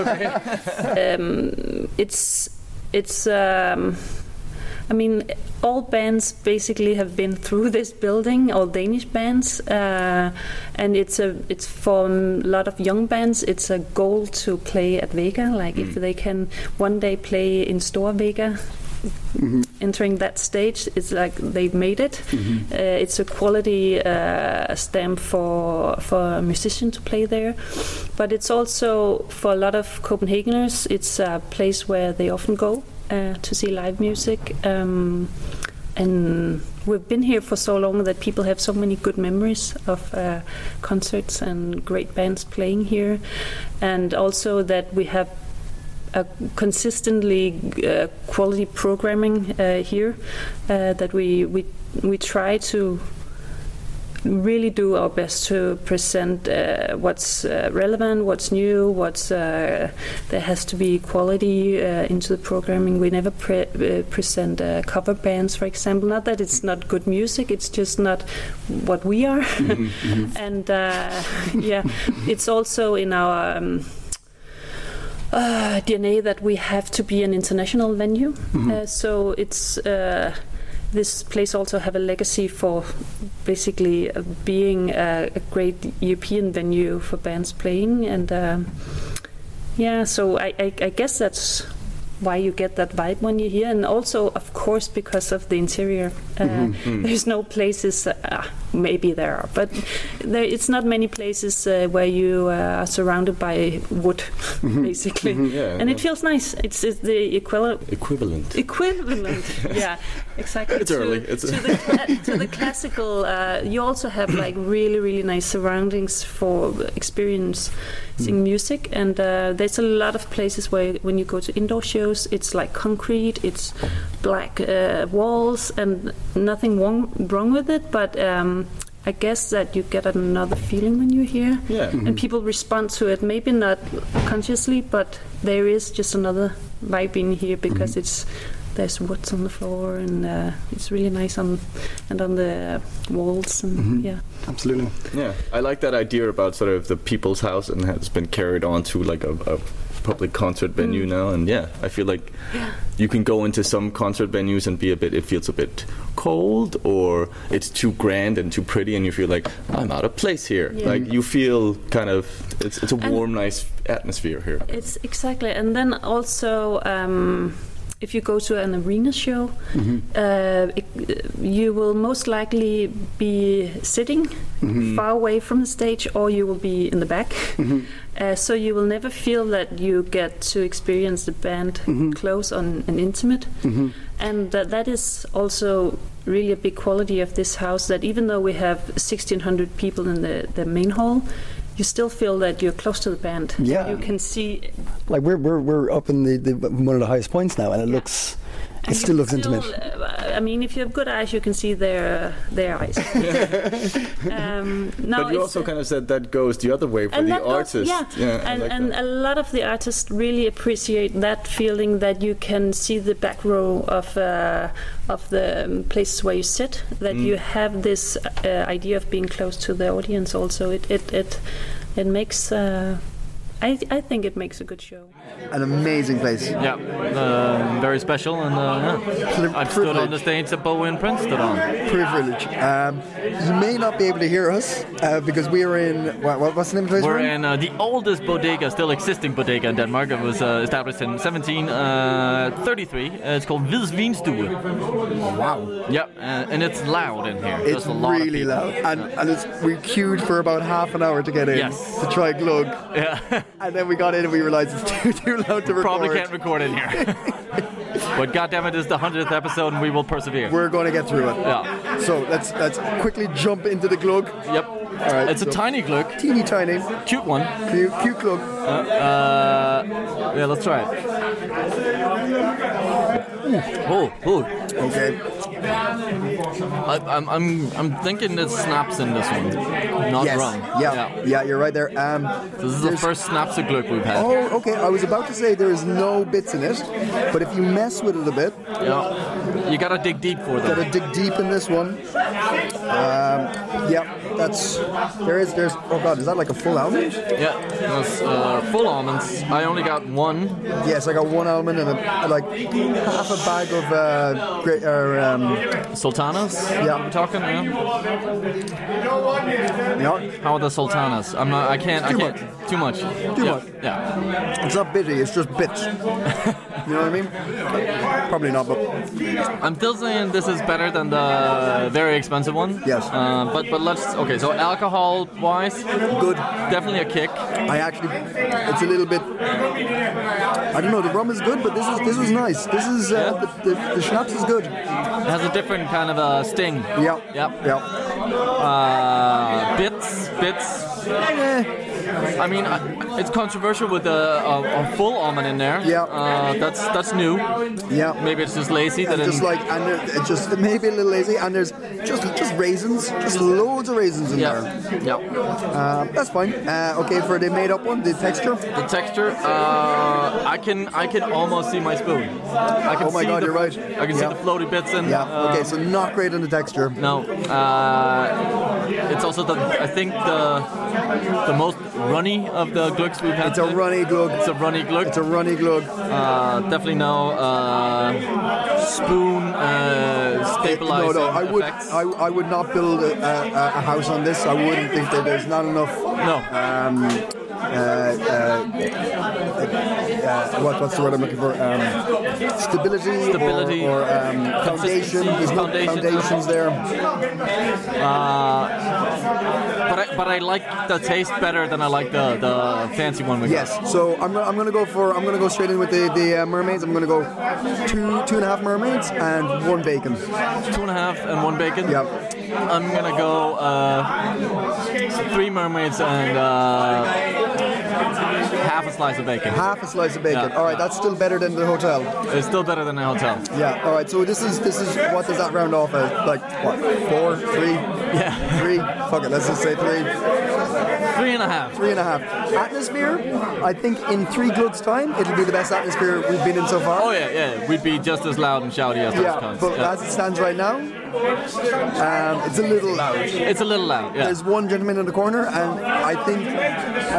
A: okay.
H: um, it's it's um, I mean all bands basically have been through this building all Danish bands uh, and it's a it's for a lot of young bands it's a goal to play at Vega like if
A: Mm.
H: they can one day play in Store Vega entering that stage, it's like they've made it. Uh, it's a quality uh, stamp for for a musician to play there, but it's also for a lot of Copenhageners. It's a place where they often go uh, to see live music. Um, and we've been here for so long that people have so many good memories of uh, concerts and great bands playing here, and also that we have a consistently uh, quality programming uh, here uh, that we, we we try to really do our best to present uh, what's uh, relevant, what's new, what's uh, there has to be quality uh, into the programming. We never pre- uh, present uh, cover bands, for example. Not that it's not good music; it's just not what we are. and uh, yeah, it's also in our. Um, uh, DNA that we have to be an international venue. Uh, so it's uh, this place also have a legacy for basically uh, being a, a great European venue for bands playing and. Um, Yeah, so I, I, I guess that's why you get that vibe when you hear, and also, of course, because of the interior. Uh,
J: Mm-hmm.
K: Mhm, mm.
H: There's no places, uh, maybe there are, but there, it's not many places uh, where you uh, are surrounded by wood, basically.
J: Mhm, yeah,
H: and
J: yeah.
H: it feels nice. It's, it's the equivalent.
J: Equivalent.
H: Equivalent, yeah, exactly.
L: It's
H: to,
L: early. It's-
H: to, the, cla- to the classical, uh, you also have like really, really nice surroundings for experiencing
L: Hmm.
H: music, and uh, there's a lot of places where when you go to indoor shows, it's like concrete, it's black uh, walls, and nothing wrong wrong with it, but. Um, I guess that you get another feeling when you hear,
L: Yeah.
H: and
L: Mhm.
H: people respond to it. Maybe not consciously, but there is just another vibe in here because it's there's woods on the floor and uh, it's really nice on and on the walls and
L: Mhm.
H: yeah.
M: Absolutely.
L: Yeah, I like that idea about sort of the people's house and has been carried on to like a, a public concert venue
C: Mm.
L: now. And yeah, I feel like you can go into some concert venues and be a bit, it feels a bit cold or it's too grand and too pretty, and you feel like I'm out of place here.
H: Yeah.
L: Like you feel kind of it's it's a
H: And-
L: warm, nice atmosphere here.
H: It's exactly, and then also um, if you go to an arena show, uh, it- you will most likely be sitting
K: Mhm.
H: far away from the stage, or you will be in the back. Uh, so you will never feel that you get to experience the band close on and intimate.
K: Mhm.
H: And that, that is also really a big quality of this house that even though we have 1,600 people in the, the main hall, you still feel that you're close to the band.
M: Yeah.
H: You can see.
M: Like we're we're, we're up in the, the one of the highest points now, and it looks it
H: and
M: still
H: you
M: looks
H: still,
M: intimate.
H: uh, I mean, if you have good eyes, you can see their, uh, their eyes. um, now
L: but you
H: it's-
L: also kind of said that goes the other way for the
H: that goes-
L: artist.
H: yeah,
L: I
H: and,
L: like
H: and
L: that.
H: a lot of the artists really appreciate that feeling that you can see the back row of uh, of the um, places where you sit. That
K: Mm.
H: you have this uh, idea of being close to the audience. Also, it it it, it makes. Uh, I, I think it makes a good show.
B: An amazing place.
C: Yeah, uh, very special, and uh, yeah. I've stood on the stage that Bowie and Prince stood on.
B: Privilege. Um, you may not be able to hear us uh, because we are in. What, what, what's the name of the place?
C: We're in
B: in?
C: uh, the oldest bodega, still existing bodega in Denmark. It was uh, established in 1733. Uh, it's called Vils Vinstue.
B: Wow.
C: Yep, uh, and it's loud in here.
B: It's
C: There's a lot of
B: really
C: people.
B: loud, and, and it's, we queued for about half an hour to get in
C: Yes.
B: to try glug.
C: Yeah.
B: and then we got in and we realized it's too too loud to record.
C: Probably can't record in here. but goddamn it, it's the hundredth episode, and we will persevere.
B: We're going to get through it.
C: Yeah.
B: So let's let's quickly jump into the glug.
C: Yep.
B: All right.
C: It's a tiny glug.
B: Teeny tiny.
C: Cute one.
B: Cute, cute glug.
C: Uh, uh, yeah, let's try it. Oh, oh.
B: Okay.
C: I, I'm, I'm, I'm thinking there's snaps in this one. Not
B: yes.
C: wrong.
B: Yeah. yeah. You're right there. Um,
C: This is the
B: there's-
C: first snaps of Glück we've had.
B: Oh, okay. I was about to say there is no bits in it, but if you mess with it a bit,
C: Yeah. You gotta dig deep for them.
B: gotta dig deep in this one. Um, yeah, that's there is there's oh god, is that like a full almond?
C: Yeah, those uh, full almonds. I only got one.
B: Yes, I got one almond and a, like half a bag of uh, great. Uh, um,
C: Sultanas?
B: Yeah.
C: I'm talking. Yeah.
B: Yeah.
C: How are the sultanas? I'm not. I can't. I
B: Too
C: can't. Too much.
B: Too
C: yeah.
B: much.
C: Yeah.
B: It's not bitty. It's just bits. you know what I mean? Probably not, but
C: I'm still saying this is better than the very expensive one. Yes. Uh, but but let's. Okay. So alcohol wise, good. Definitely a kick.
B: I actually. It's a little bit. I don't know. The rum is good, but this is this is nice. This is uh, the, the, the schnapps is good.
C: It has a different kind of a sting.
B: Yeah.
C: Yep.
B: Yep.
C: Uh, bits, bits.
B: Eh.
C: I mean, I- it's controversial with a, a, a full almond in there. Yeah. Uh, that's that's new.
B: Yeah.
C: Maybe it's just lazy. that
B: And
C: it-
B: just like and there- it just it may be a little lazy, and there's just just raisins, just loads of raisins in there. Uh, that's fine. Uh, okay, for the made up one, the texture.
C: The texture, uh, I can I can almost see my spoon. I can
B: Oh my
C: see
B: God,
C: the,
B: you're right.
C: I can
B: Yeah.
C: see the floaty bits and.
B: Yeah.
C: uh,
B: okay, so not great on the texture.
C: No, uh, it's also the I think the the most runny of the glugs we've had. It's a
B: runny glug.
C: It's a runny glug. It's a
B: runny glug.
C: Uh, definitely no uh, spoon uh,
B: No,
C: stabilizer.
B: no, I would,
C: effects.
B: I, I would not build a, a, a house on this. I wouldn't think that there's not enough.
C: No.
B: Um, uh, uh, what, what's the word I'm looking for? Um, stability,
N: Stability.
B: or, or um, foundation. There's no
N: Foundation.
B: foundations there.
C: Uh, but I, but I like the taste better than I like the, the fancy one we got.
B: Yes. So I'm gonna, I'm gonna go for I'm gonna go straight in with the the uh, mermaids. I'm gonna go two two and a half mermaids and one bacon.
C: Two and a half and one bacon.
B: Yep.
C: I'm gonna go uh, three mermaids and uh, half a slice of bacon.
B: Half a slice of bacon. All right, that's still better than the hotel.
C: It's still better than a hotel.
B: Yeah. All right. So this is this is what does that round off as? Like what? Four, three, yeah, three. Fuck it. Let's just say three.
C: Three and a half.
B: Three and a half. Atmosphere. I think in three glugs time, it'll be the best atmosphere we've been in so far.
C: Oh yeah, yeah. We'd be just as loud and shouty as those
B: Yeah,
C: cunts.
B: but
C: Yeah.
B: as it stands right now, um, it's a little loud.
C: It's a little loud. Yeah.
B: There's one gentleman in the corner, and I think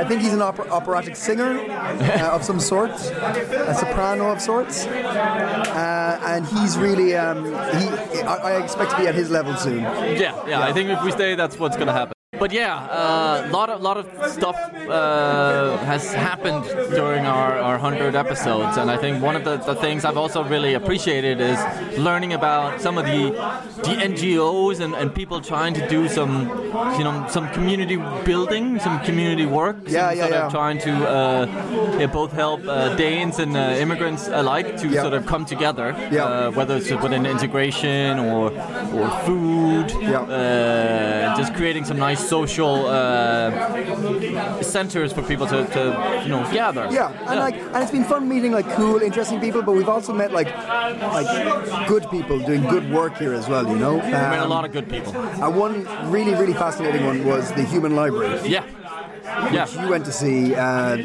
B: I think he's an oper- operatic singer uh, of some sort, a soprano of sorts, uh, and he's really um, he. I, I expect to be at his level soon.
C: Yeah, yeah, I think if we stay, that's what's gonna happen. But yeah, a uh, lot of lot of stuff uh, has happened during our, our hundred episodes, and I think one of the, the things I've also really appreciated is learning about some of the the NGOs and, and people trying to do some you know some community building, some community work.
B: Yeah,
C: some
B: yeah,
C: sort
B: yeah.
C: Of trying to uh, yeah, both help uh, Danes and uh, immigrants alike to sort of come together, uh, whether it's within integration or or food, uh, just creating some nice social uh, centers for people to, to you know gather.
B: Yeah, and like, and it's been fun meeting like cool, interesting people, but we've also met like like good people doing good work here as well. You know, Um,
C: We met a lot of good people.
B: And one really, really fascinating one was the Human Library.
C: Yeah. Yeah.
B: Which you went to see. Uh,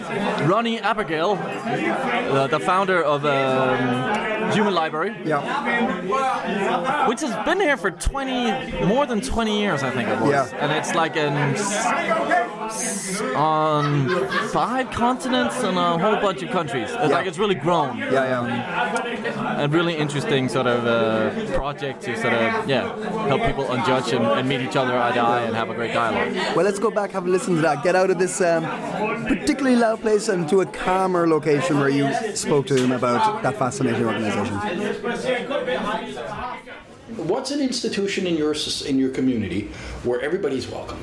C: Ronnie Abigail, uh, the, the founder of um, Human Library, yeah, which has been here for 20, more than 20 years, I think it was,
N: Yeah.
C: and it's like in, s- on five continents and a whole bunch of countries. It's like it's really grown. Yeah,
N: yeah.
C: A really interesting sort of uh, project to sort of yeah help people on judge and, and meet each other eye to eye and have a great dialogue.
B: well, let's go back, have a listen to that. Get out of this um, particularly loud place and to a calmer location where you spoke to him about that fascinating organization.
O: What's an institution in your soc- in your community where everybody's welcome?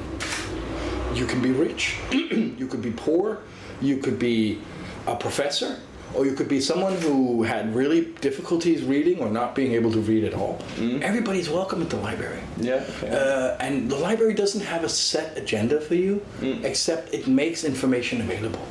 O: You can be rich, you could be poor, you could be a professor, or you could be someone who had really difficulties reading or not being able to read at all. Everybody's welcome at the library.
A: Yeah.
O: Uh, and the library doesn't have a set agenda for you, except it makes information available.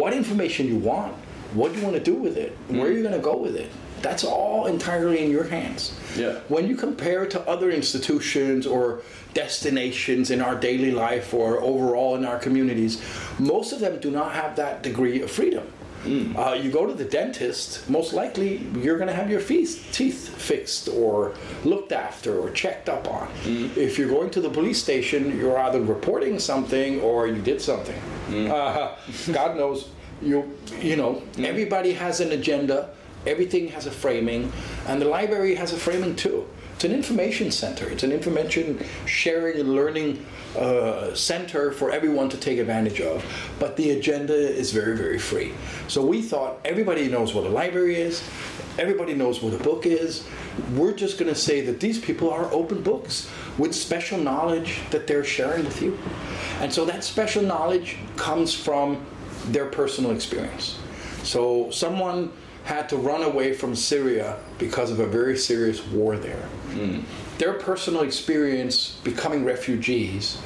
O: What information you want, what you want to do with it, where you're going to go with it, that's all entirely in your hands.
A: Yeah.
O: When you compare to other institutions or destinations in our daily life or overall in our communities, most of them do not have that degree of freedom. Uh, you go to the dentist, most likely you're going to have your fees, teeth fixed or looked after or checked up on. If you're going to the police station, you're either reporting something or you did something. Uh, God knows, you, you know, everybody has an agenda, everything has a framing, and the library has a framing too. It's an information center. It's an information sharing and learning uh, center for everyone to take advantage of. But the agenda is very, very free. So we thought everybody knows what a library is, everybody knows what a book is. We're just going to say that these people are open books with special knowledge that they're sharing with you. And so that special knowledge comes from their personal experience. So someone had to run away from Syria because of a very serious war there. Their personal experience becoming refugees,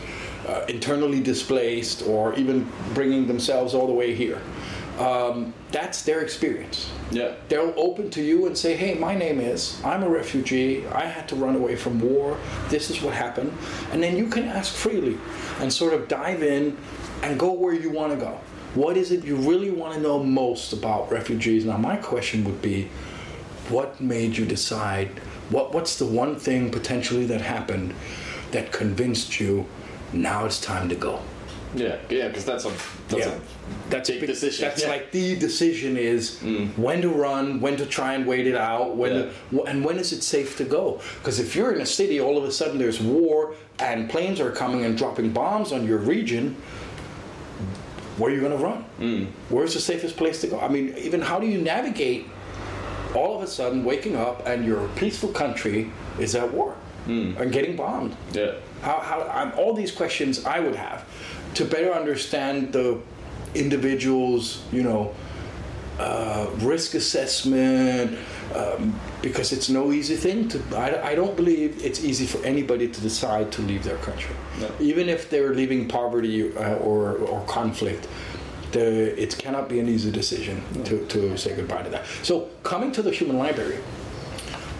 O: uh, internally displaced, or even bringing themselves all the way here. Um, that's their experience. Yeah. They'll open to you and say, "Hey, my name is. I'm a refugee. I had to run away from war. This is what happened." And then you can ask freely and sort of dive in and go where you want to go. What is it you really want to know most about refugees? Now, my question would be, what made you decide? What What's the one thing potentially that happened that convinced you? Now it's time to go.
A: Yeah, yeah, because that's a that's a
O: that's
A: big decision.
O: That's
A: Yeah. Mm.
O: like the decision is when to run, when to try and wait it out, when to, and when is it safe to go? Because if you're in a city, all of a sudden there's war and planes are coming and dropping bombs on your region. where are you going to run?
A: Mm.
O: Where's the safest place to go? I mean, even how do you navigate all of a sudden waking up and your peaceful country is at war
A: Mm.
O: and getting bombed?
D: Yeah.
O: How, how, i all these questions I would have to better understand the individual's, you know, uh, risk assessment, um, because it's no easy thing to. I, I don't believe it's easy for anybody to decide to leave their country, even if they're leaving poverty uh, or or conflict. The, it cannot be an easy decision to, to say goodbye to that. So coming to the human library,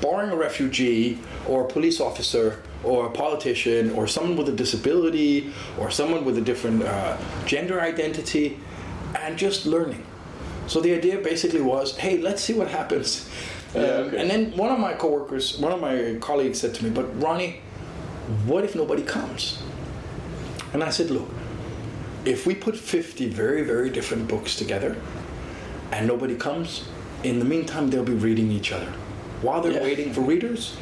O: barring a refugee or a police officer or a politician or someone with a disability or someone with a different uh, gender identity, and just learning. So the idea basically was, hey, let's see what happens. Um, And then one of my coworkers, one of my colleagues said to me, but Ronnie, what if nobody comes? And I said, look, if we put 50 very, very different books together and nobody comes, in the meantime, they'll be reading each other. While they're waiting for readers,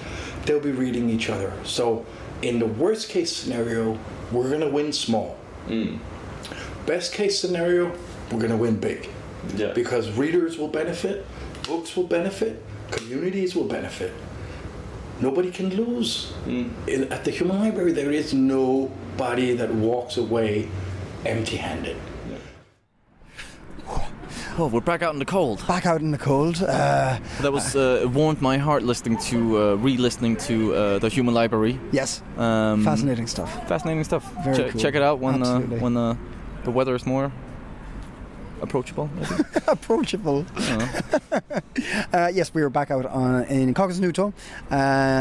O: they'll be reading each other. So, in the worst case scenario, we're going to win small. Best case scenario, we're going to win big.
D: Yeah.
O: Because readers will benefit, books will benefit, communities will benefit. Nobody can lose. In, at the Human Library, there is nobody that walks away empty handed.
C: Oh, we're back out in the cold.
B: Back out in the cold. Uh,
C: That was uh, it warmed my heart listening to uh, re-listening to uh, the Human Library.
B: yes,
C: Um,
B: fascinating stuff.
C: fascinating stuff.
B: Very
C: Che-
B: cool.
C: Check it out when uh,
B: Absolutely.
C: when uh, the weather is more approachable. maybe?
B: Approachable.
C: I don't know.
B: Uh, yes, we were back out on, in Caucus Newton, uh,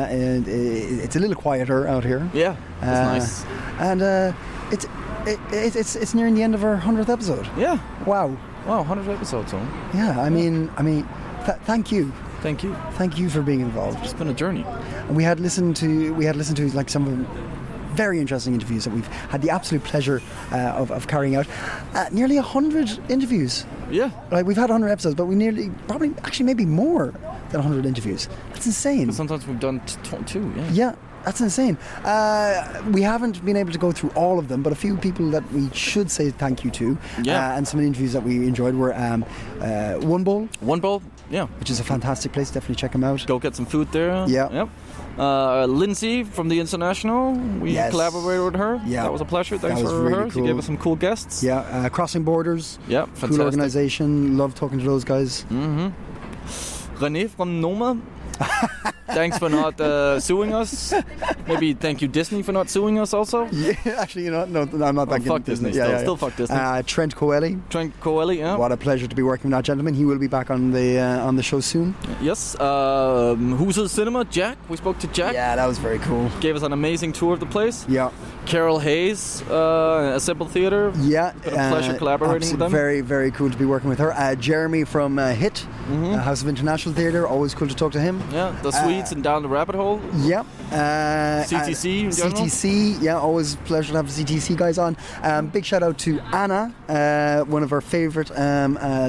B: and i- it's a little quieter out here.
C: yeah, that's
B: Uh,
C: nice.
B: And uh, it's it, it, it's it's nearing the end of our hundredth episode.
C: Yeah.
B: Wow.
C: Wow, 100 episodes on.
B: Yeah. I mean, I mean, th- thank you,
C: Thank you.
B: thank you for being involved.
C: It's been a journey.
B: And we had listened to we had listened to like some of them very interesting interviews that we've had the absolute pleasure uh, of, of carrying out. Uh, nearly hundred interviews.
C: Yeah.
B: Like we've had 100 episodes, but we nearly, probably, actually, maybe more than 100 interviews. That's insane.
C: Sometimes we've done t- t- two. Yeah.
B: Yeah, that's insane. Uh, we haven't been able to go through all of them, but a few people that we should say thank you to,
C: Yeah.
B: uh, and some of the interviews that we enjoyed were um, uh, One Bowl,
C: One bowl. Yeah.
B: which is a fantastic place. Definitely check them out.
C: Go get some food there.
B: Yeah.
C: Yep. Uh, Lindsay from the International. We
B: Yes.
C: collaborated with her.
B: Yeah.
C: That was a pleasure.
B: That
C: Thanks
B: was
C: for
B: really
C: her. She
B: cool.
C: gave us some cool guests.
B: Yeah, uh, Crossing Borders,
C: Yeah.
B: cool
C: Fantastic. Hmm?
B: organization. Love talking to those guys.
C: René from Noma. Thanks for not uh, suing us. Maybe thank you Disney for not suing us also.
B: Yeah, actually, you know, no, no, I'm not that
C: Oh, fuck Disney still, still fuck Disney.
B: Uh, Trent Coeli.
C: Trent Coeli, yeah.
B: What a pleasure to be working with that gentleman. He will be back on the uh, on the show soon.
C: Yes. Um, Husel Cinema, Jack. We spoke to Jack.
B: Yeah, that was very cool.
C: Gave us an amazing tour of the place.
B: Yeah,
C: Carol Hayes, uh, Assemble Theater.
B: yeah. uh,
C: Been a pleasure collaborating with
B: absolute-
C: them.
B: Very, very cool to be working with her. Uh, Jeremy from uh, HIT,
C: Mm-hmm.
B: uh, House of International Theatre. Always cool to talk to him.
C: Yeah,
B: Uh,
C: the Swedes and Down the Rabbit Hole.
B: Yep. Uh,
C: CTC in
B: uh,
C: general?
B: CTC. Yeah, always a pleasure to have the CTC guys on. Um, big shout out to Anna, uh, one of our favourite um, uh,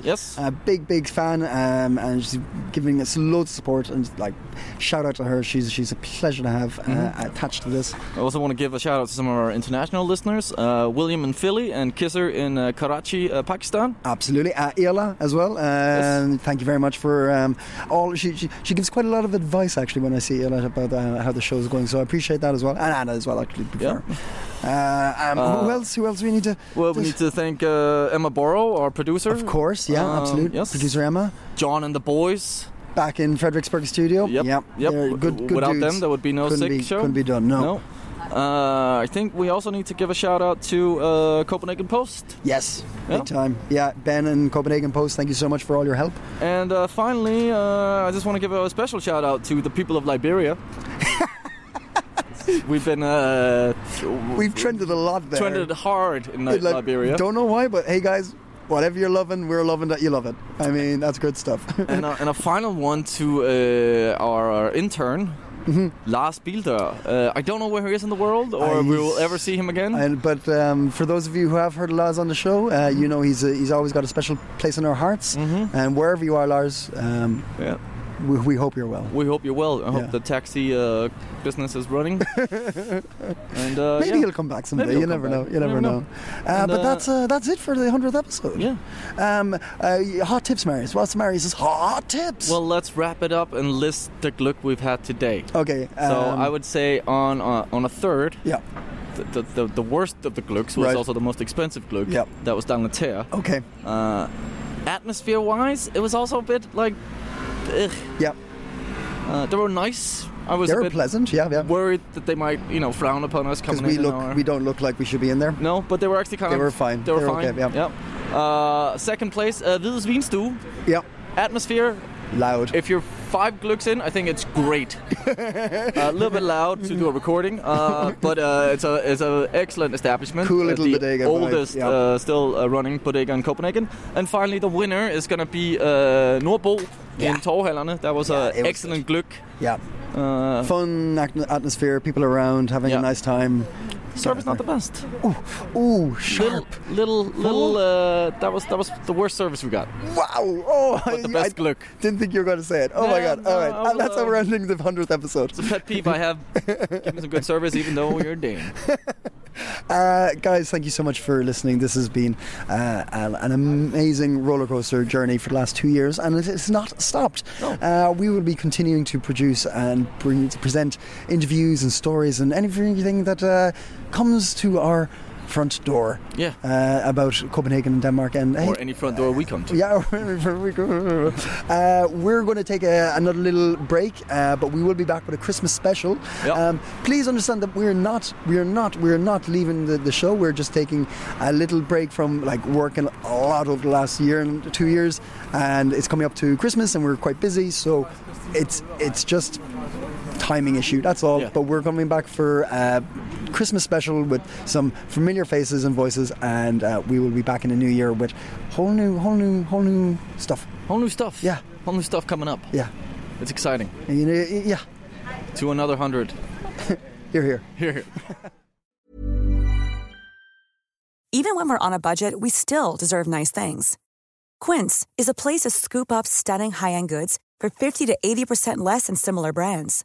C: Listeners, yes.
B: A big, big fan, um, and she's giving us loads of support. And like, shout out to her. She's she's a pleasure to have uh,
C: Mm-hmm.
B: attached to this.
C: I also want to give a shout out to some of our international listeners uh, William in Philly and Kisser in uh, Karachi, uh, Pakistan.
B: Absolutely, uh, Ila as well. Um, Thank you very much for um, all. She, she she gives quite a lot of advice actually when I see Ila about uh, how the show's going. So I appreciate that as well, and Anna as well actually.
C: Yeah.
B: Before. Uh, um, who
C: Uh,
B: else? Who else we need to?
C: Well, we need to thank uh, Emma Borrow, our producer.
B: Of course, yeah,
C: Um,
B: absolutely.
C: yes.
B: Producer Emma
C: John and the boys.
B: back in Fredericksburg studio.
C: Yep.
B: yep.
C: Yep.
B: They're Good, good
C: Without
B: dudes.
C: them, there would be no
B: couldn't
C: sick
B: be,
C: show.
B: Couldn't be done. No.
C: No. Uh, I think we also need to give a shout out to uh, Copenhagen Post.
B: Yes,
C: Yeah.
B: big time. Yeah, Ben and Copenhagen Post. Thank you so much for all your help.
C: And uh, finally, uh, I just want to give a special shout out to the people of Liberia. We've been uh,
B: We've trended a lot there.
C: trended hard in Li-
B: Like,
C: Liberia.
B: Don't know why, but hey guys, whatever you're loving, we're loving that you love it. I mean, that's good stuff.
C: and, a, and a final one to uh, our, our intern,
B: Mm-hmm.
C: Lars Bilder. Uh, I don't know where he is in the world or
B: I-
C: we will ever see him again.
B: And, but um, for those of you who have heard Lars on the show, uh,
C: Mm-hmm.
B: you know he's a, he's always got a special place in our hearts. And wherever you are, Lars, um,
C: yeah.
B: we, we hope you're well.
C: We hope you're well. I hope
B: Yeah.
C: the taxi uh, business is running. and uh,
B: Maybe
C: yeah.
B: he'll come back someday.
C: Maybe he'll
B: You
C: come
B: never know.
C: back.
B: You never know. Uh,
C: And,
B: but
C: uh,
B: that's uh, that's it for the hundredth episode.
C: Yeah.
B: Um, uh, hot tips, Marius. What's Marius' hot tips?
C: Well, let's wrap it up and list the look we've had today.
B: Okay,
C: so
B: um,
C: I would say on uh, on a third.
B: Yeah.
C: The, the, the worst of the glucks was
B: Right.
C: also the most expensive gluck.
B: Yep.
C: That was down the tear.
B: Okay.
C: Uh, atmosphere wise, it was also a bit like. Ugh.
B: Yep.
C: Uh, they were nice. I was
B: They
C: a
B: were
C: bit
B: pleasant, yeah, yeah.
C: worried that they might, you know, frown upon us
B: Because
C: coming
B: we
C: in.
B: look,
C: our-
B: we don't look like we should be in there.
C: No, but they were actually kind
B: They
C: of.
B: were fine.
C: They were
B: They were
C: fine.
B: okay, yeah.
C: Yep. Uh, second place, uh, Hvides Vinstue.
B: Yep.
C: Atmosphere.
B: Loud.
C: If you're five glucks in, I think it's great. a little bit loud to do a recording, uh, but uh, it's a it's an excellent establishment.
B: Cool
C: Uh,
B: little
C: the
B: bodega vibe,
C: Oldest
B: yeah.
C: uh, still uh, running bodega in Copenhagen. And finally, the winner is gonna be uh, Norbo in Torhallerne. That was an
B: was
C: excellent gluck.
B: Yeah.
C: Uh,
B: Fun ac- atmosphere, people around, having a
C: Yeah.
B: nice time.
C: Service not the best.
B: Ooh,
C: Little,
B: sharp.
C: little, little. Uh, that was that was the worst service we got.
B: Wow! Oh,
C: But the best
B: I
C: gluck.
B: didn't think you were going to say it. Oh my
C: Yeah,
B: god!
C: no,
B: All right,
C: I
B: And that's how
C: will-
B: we're ending the hundredth episode.
C: It's a pet peeve I have. Give me some good service, even though you're Dane.
B: Uh, guys, thank you so much for listening. This has been uh, an an amazing roller coaster journey for the last two years, and it- it's not stopped. Uh, we will be continuing to produce and bring, to present interviews and stories and anything that uh, comes to our front door
C: Yeah.
B: uh, about Copenhagen and Denmark. And hey,
C: Or any front door we come to.
B: yeah, uh, we're going to take a, another little break, uh, but we will be back with a Christmas special.
C: Yep.
B: Um, please understand that we're not, we're not, we're not leaving the, the show. We're just taking a little break from like working a lot over the last year and two years, and it's coming up to Christmas, and we're quite busy, so it's it's just timing issue. That's all.
C: Yeah.
B: But we're coming back for uh, Christmas special with some familiar faces and voices, and uh, we will be back in the new year with whole new, whole new, whole new stuff.
C: Whole new stuff.
B: Yeah.
C: Whole new stuff coming up.
B: Yeah,
C: It's exciting.
B: And, you know, yeah.
C: To another hundred.
B: Here, here.
C: Here.
K: Even when we're on a budget, we still deserve nice things. Quince is a place to scoop up stunning high-end goods for 50 to 80% less than similar brands.